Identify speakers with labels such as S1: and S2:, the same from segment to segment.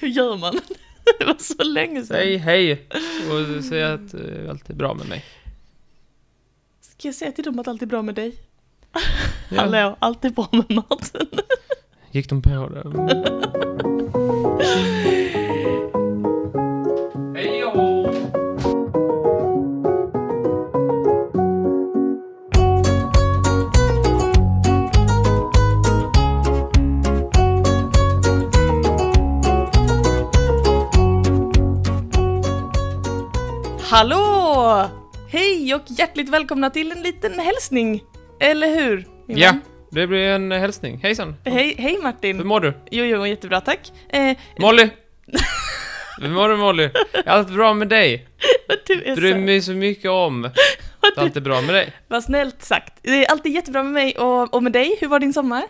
S1: hur gör man? det var så länge sedan.
S2: Säg hej och säg att eh, allt är bra med mig.
S1: Ska jag säga till dem att allt är bra med dig?
S2: Ja.
S1: Hallå, allt är bra med Martin.
S2: Gick de på det? Hej
S1: Hallå! Hej och hjärtligt välkomna till en liten hälsning. Eller hur? min
S2: Ja,
S1: vän?
S2: det blir en hälsning. Hejsan!
S1: Hej, hej
S2: Hur
S1: Martin.
S2: mår du?
S1: Jo, jo, jättebra tack. Eh,
S2: Molly! Hur mår du Molly? Allt bra med dig?
S1: du är
S2: Bryr
S1: så...
S2: mig så mycket om. att Allt är bra med dig?
S1: Vad snällt sagt. Det är alltid jättebra med mig och, och med dig. Hur var din sommar?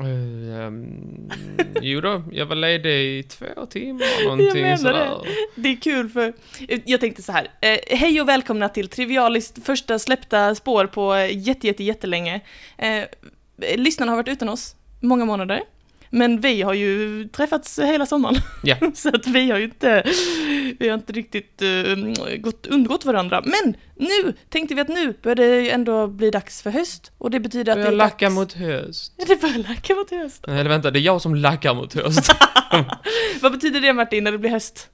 S2: Uh, um, jo då, jag var ledig i två timmar någonting
S1: menar
S2: sådär.
S1: Det är kul för... Jag tänkte så här. Eh, hej och välkomna till Trivialist första släppta spår på eh, jätte, jätte, jättelänge. Eh, lyssnarna har varit utan oss många månader. Men vi har ju träffats hela sommaren.
S2: Ja.
S1: så att vi har ju inte, vi har inte riktigt eh, gått, undgått varandra. Men nu tänkte vi att nu börjar det ju ändå bli dags för höst. Och det betyder att
S2: Jag
S1: det är
S2: lackar
S1: dags...
S2: mot höst.
S1: Det börjar lacka mot höst.
S2: Eller vänta, det är jag som lackar mot höst.
S1: Vad betyder det Martin, när det blir höst?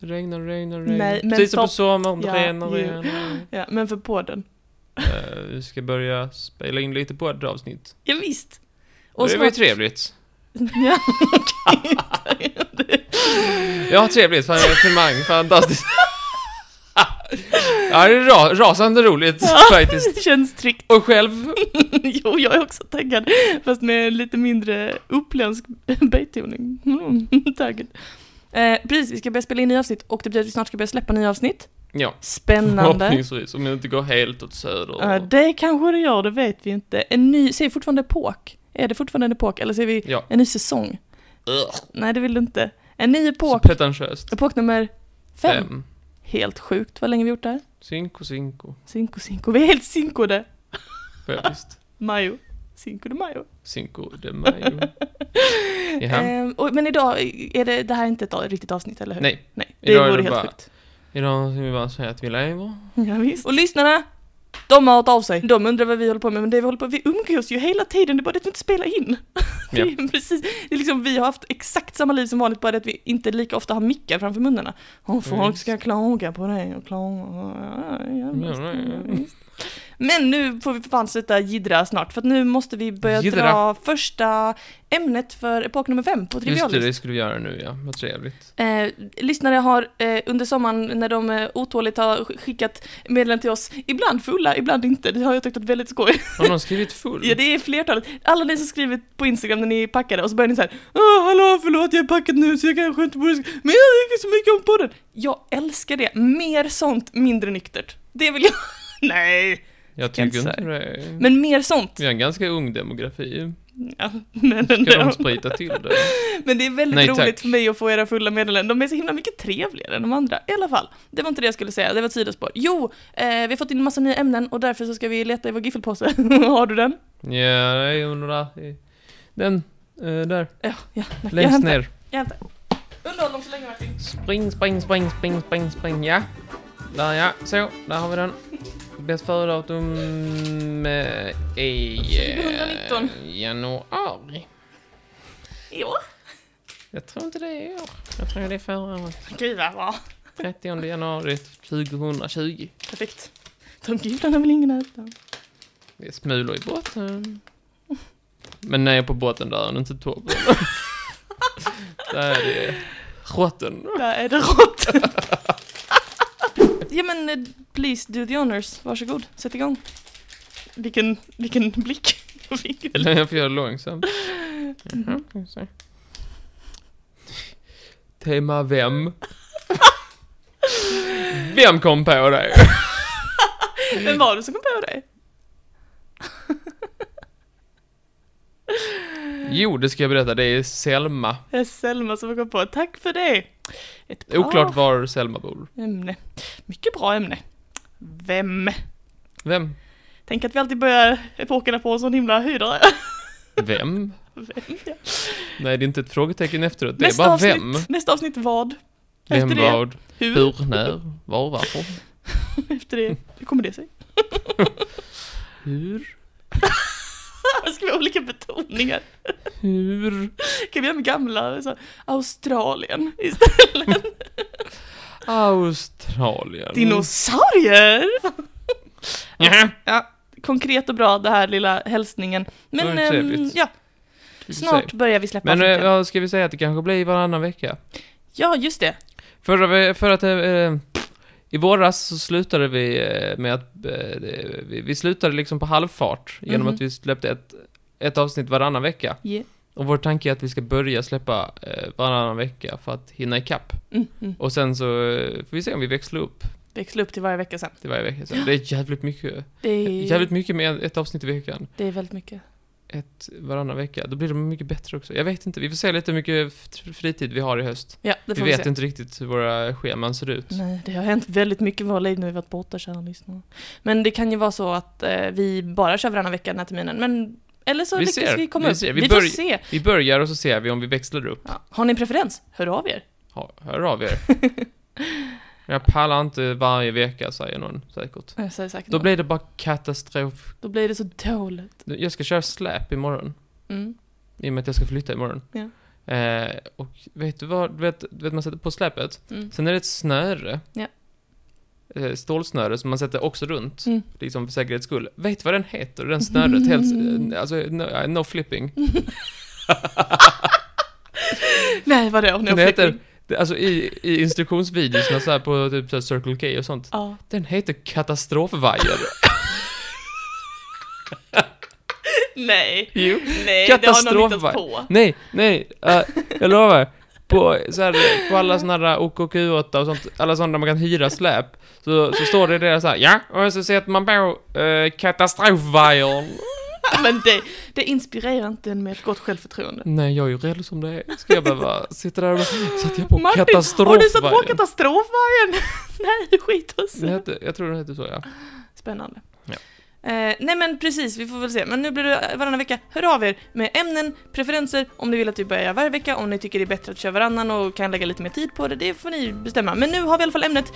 S2: Regnar, regnar, regnar.
S1: Nej, men
S2: Precis som på
S1: stopp.
S2: sommaren,
S1: Ja,
S2: regnar,
S1: ju.
S2: regnar. regnar.
S1: Ja, men för podden.
S2: Eh, vi ska börja spela in lite på ett avsnitt.
S1: Ja, visst.
S2: Och det var ju
S1: snart-
S2: trevligt.
S1: Ja, okej.
S2: Ja, trevligt. Fan, evenemang. Fantastiskt. ja, det är ra- rasande roligt
S1: Ja.
S2: faktiskt.
S1: Det känns tryggt.
S2: Och själv?
S1: Jo, jag är också taggad. Fast med lite mindre uppländsk betoning. Mm, taggad. Eh, precis, vi ska börja spela in nya avsnitt och det betyder att vi snart ska börja släppa nya avsnitt.
S2: Ja,
S1: Spännande.
S2: förhoppningsvis. Om jag inte går helt åt söder.
S1: Eh, det kanske det gör, det vet vi inte. En ny, ser vi fortfarande epok? Är det fortfarande en epok eller ser vi
S2: Ja.
S1: en ny säsong?
S2: Ugh,
S1: Nej, det vill du inte. En ny
S2: Så
S1: epok,
S2: pretentiöst.
S1: epok nummer fem.
S2: Fem.
S1: Helt sjukt, vad länge vi gjort där.
S2: Cinco, cinco.
S1: Cinco, cinco, vi är helt cincode.
S2: Faktiskt.
S1: Mayo. Cinco de mayo.
S2: Cinco de mayo. Jaha.
S1: Ehm, och, men idag är det, det här är inte ett riktigt avsnitt, eller hur?
S2: Nej,
S1: Nej det
S2: Idag är
S1: vore
S2: det
S1: helt
S2: bara-
S1: sjukt.
S2: idag ska vi bara säga att vi lever.
S1: Ja, visst. Och lyssnarna, de har hört av sig. De undrar vad vi håller på med, men det vi håller på vi umgås ju hela tiden, det är bara det att vi inte spelar in. Det är precis, det är liksom, vi har haft exakt samma liv som vanligt, bara det att vi inte lika ofta har mickar framför munnarna. Och
S2: Ja,
S1: folk
S2: visst.
S1: ska klaga på dig och klaga. Ja, Mm. ja, visst,
S2: Ja,
S1: ja,
S2: ja.
S1: visst. Men nu får vi för fan sluta jiddra snart, för att nu måste vi börja
S2: Jiddra.
S1: dra första ämnet för epok nummer fem på
S2: Just det,
S1: Trivialist.
S2: det skulle du göra nu ja. Vad trevligt.
S1: Eh, lyssnare har eh, under sommaren när de eh, otåligt har sk- skickat meddelanden till oss, ibland fulla, ibland inte. Det har jag tyckt varit väldigt skoj.
S2: Har någon skrivit full?
S1: ja, det är flertalet. Alla ni som skrivit på Instagram när ni är packade och så börjar ni så här, Åh, hallå, förlåt, jag är packad nu så jag kanske inte borde sk- men jag tycker så mycket om podden. Jag älskar det. Mer sånt, mindre nyktert. Det vill jag.
S2: Mm.
S1: Nej,
S2: Jag
S1: kan
S2: tycker
S1: inte
S2: inte det.
S1: men mer sånt.
S2: Vi har en ganska ung demografi.
S1: Ja, men
S2: Ska de
S1: ändå.
S2: sprita till det?
S1: Men det är väldigt
S2: Nej,
S1: roligt
S2: tack.
S1: för mig att få era fulla meddelanden. De är så himla mycket trevligare än de andra. I alla fall, det var inte det jag skulle säga, det var ett sidospår. Jo, eh, vi har fått in massa nya ämnen och därför så ska vi leta i vår giffelpåse. har du den?
S2: Ja, det är under där. i- Den, eh, där.
S1: Ja, ja. tack. jag
S2: Längst
S1: hämtar,
S2: ner.
S1: Jag hämtar. Underhåll dem så länge Martin.
S2: Spring, spring, spring, spring, spring, spring, ja. Där ja, så, där har vi den. Bäst före-datum eh, i... eh,
S1: 2019.
S2: Januari.
S1: Jo,
S2: Jag tror inte det är i år. Jag tror det är förra året.
S1: gud vad bra.
S2: 30 januari 2020.
S1: Perfekt. De gudarna vill ingen äta.
S2: Det är smulor i båten. Men när jag är på båten där är det inte tårtor. där är det råttan.
S1: Där är det råttor. ja men, eh, please do the honors. Varsågod, sätt igång. Vilken, vilken blick. jag fick.
S2: Eller jag får göra det långsamt. Jaha, ska vi se. Tema vem? Vem kom på det?
S1: Vem var det som kom på det?
S2: Jo, det ska jag berätta. Det är Selma.
S1: Det är Eh, Selma som kom på. Tack för det! Ett bra
S2: Oklart var Selma bor.
S1: ämne. Mycket bra ämne. Vem?
S2: Vem?
S1: Tänk att vi alltid börjar epokerna på en sån himla höjdare.
S2: Vem?
S1: Vem, ja.
S2: Nej, det är inte ett frågetecken efteråt. Det är
S1: nästa,
S2: bara
S1: avsnitt,
S2: vem.
S1: nästa avsnitt vad?
S2: Vem,
S1: Efter det,
S2: vad,
S1: hur?
S2: hur, när, var, varför.
S1: Efter det, hur kommer det sig?
S2: Hur,
S1: Ska vi ha olika betoningar?
S2: hur.
S1: Kan vi göra med gamla, så här, Australien istället?
S2: Australien.
S1: Dinosaurier!
S2: Nja.
S1: Ja, konkret och bra det här lilla hälsningen. Men
S2: Det var trevligt.
S1: ehm, ja, snart börjar vi släppa
S2: Men eh,
S1: avsnitten.
S2: ja, ska vi säga att det kanske blir varannan vecka?
S1: Ja, just det.
S2: Förra, ve- för att... eh, Eh, I våras så slutade vi eh, med att... Eh, det- vi, vi slutade liksom på halvfart genom
S1: Mhm.
S2: att vi släppte ett, ett avsnitt varannan vecka.
S1: Yeah.
S2: Och vår tanke är att vi ska börja släppa eh, varannan vecka för att hinna ikapp.
S1: Mm, mm.
S2: Och sen så eh, får vi se om vi växlar upp
S1: Växla upp till varje vecka sen.
S2: till varje vecka sen. Det är jävligt mycket.
S1: Det är,
S2: Jävligt mycket med ett avsnitt i veckan.
S1: det är väldigt mycket.
S2: Ett varannan vecka. Då blir det mycket bättre också. Jag vet inte, vi får se lite hur mycket f- fritid vi har i höst.
S1: Ja, det
S2: Vi
S1: får vi,
S2: vet
S1: se.
S2: inte riktigt hur våra scheman ser ut.
S1: Nej, det har hänt väldigt mycket i våra liv när vi varit borta, kära lyssnare. Men det kan ju vara så att eh, vi bara kör varannan vecka den här terminen, men eller så
S2: Vi
S1: lyckas
S2: ser,
S1: vi komma
S2: vi
S1: upp.
S2: ser,
S1: Vi,
S2: vi
S1: får
S2: börj-
S1: se.
S2: Vi börjar och så ser vi om vi växlar upp.
S1: Ja. Har ni en preferens? Hör av er.
S2: Ha, hör av er. Jag pallar inte varje vecka, säger någon säkert.
S1: Jag säger säkert
S2: Då
S1: något.
S2: blir det bara katastrof.
S1: Då blir det så dåligt.
S2: Jag ska köra släp imorgon.
S1: Mm.
S2: I och med att jag ska flytta imorgon.
S1: Ja.
S2: Eh, och vet du vad, du vet, du vet man sätter på släpet.
S1: Mm.
S2: Sen är det ett snöre.
S1: Ja.
S2: Eh, Stålsnöre som man sätter också runt,
S1: Mm.
S2: liksom för säkerhets skull. Vet du vad den heter, den snöret? Helt, eh, alltså, no, no flipping.
S1: Nej, vadå? No
S2: Den heter, det- alltså i, i instruktionsvideorna så här på typ så här Circle K och sånt.
S1: Ja.
S2: Den heter katastrofvajer.
S1: Nej.
S2: jo.
S1: Nej, det
S2: Katastrofvagn.
S1: har någon hittat på.
S2: Nej, nej, eh, jag lovar. På, så här, på alla sådana där OKQ8 och sånt, alla sådana där man kan hyra släp, så, så står det deras så här, ja, och så sätter man på eh, katastrofvajern.
S1: Men det, det inspirerar inte en med ett gott självförtroende.
S2: Nej, jag är ju rädd som det är. Ska jag behöva sitta där och bara, satt jag på
S1: Martin, Har du satt på
S2: katastrofvajern?
S1: katastrofvajern? Nej, skit oss.
S2: Den hette- Jag tror den hette så, ja.
S1: Spännande.
S2: Ja.
S1: Eh, nej men precis, vi får väl se. Men nu blir det varannan vecka. Hör av er med ämnen, preferenser, om ni vill att vi börjar göra varje vecka, om ni tycker det är bättre att köra varannan och kan lägga lite mer tid på det, det får ni bestämma. Men nu har vi i alla fall ämnet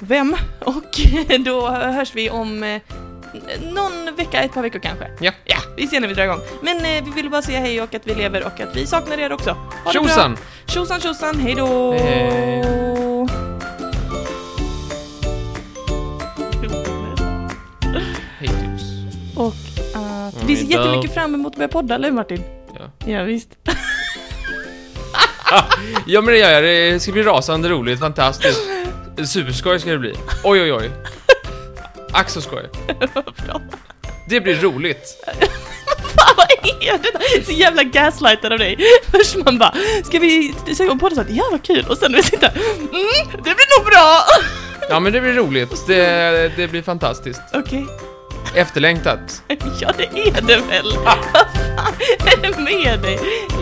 S1: Vem? Och då hörs vi om eh, någon vecka, ett par veckor kanske.
S2: Ja.
S1: Ja, vi ser när vi drar igång. Men eh, vi vill bara säga hej och att vi lever och att vi saknar er också. Ha det bra.
S2: Tjosan!
S1: Tjosan tjosan, hej då!
S2: Hej. Hej, tips.
S1: Och att
S2: Mm,
S1: vi ser
S2: idag-
S1: jättemycket fram emot att börja podda, eller hur Martin?
S2: Ja.
S1: Ja, visst.
S2: ja, men det gör jag. Det ska bli rasande roligt, fantastiskt. Superskoj ska det bli. Oj, oj, oj. Ack så skoj.
S1: Bra.
S2: Det blir roligt.
S1: Fan vad är det där? Så jävla gaslightad av dig. Först man bara, ska vi säga om podden så att ja vad kul och sen när vi sitter här, mm, det blir nog bra.
S2: Ja men det blir roligt, det, det blir fantastiskt.
S1: Okej,
S2: Efterlängtat.
S1: ja det är det väl. Vad fan är det med dig?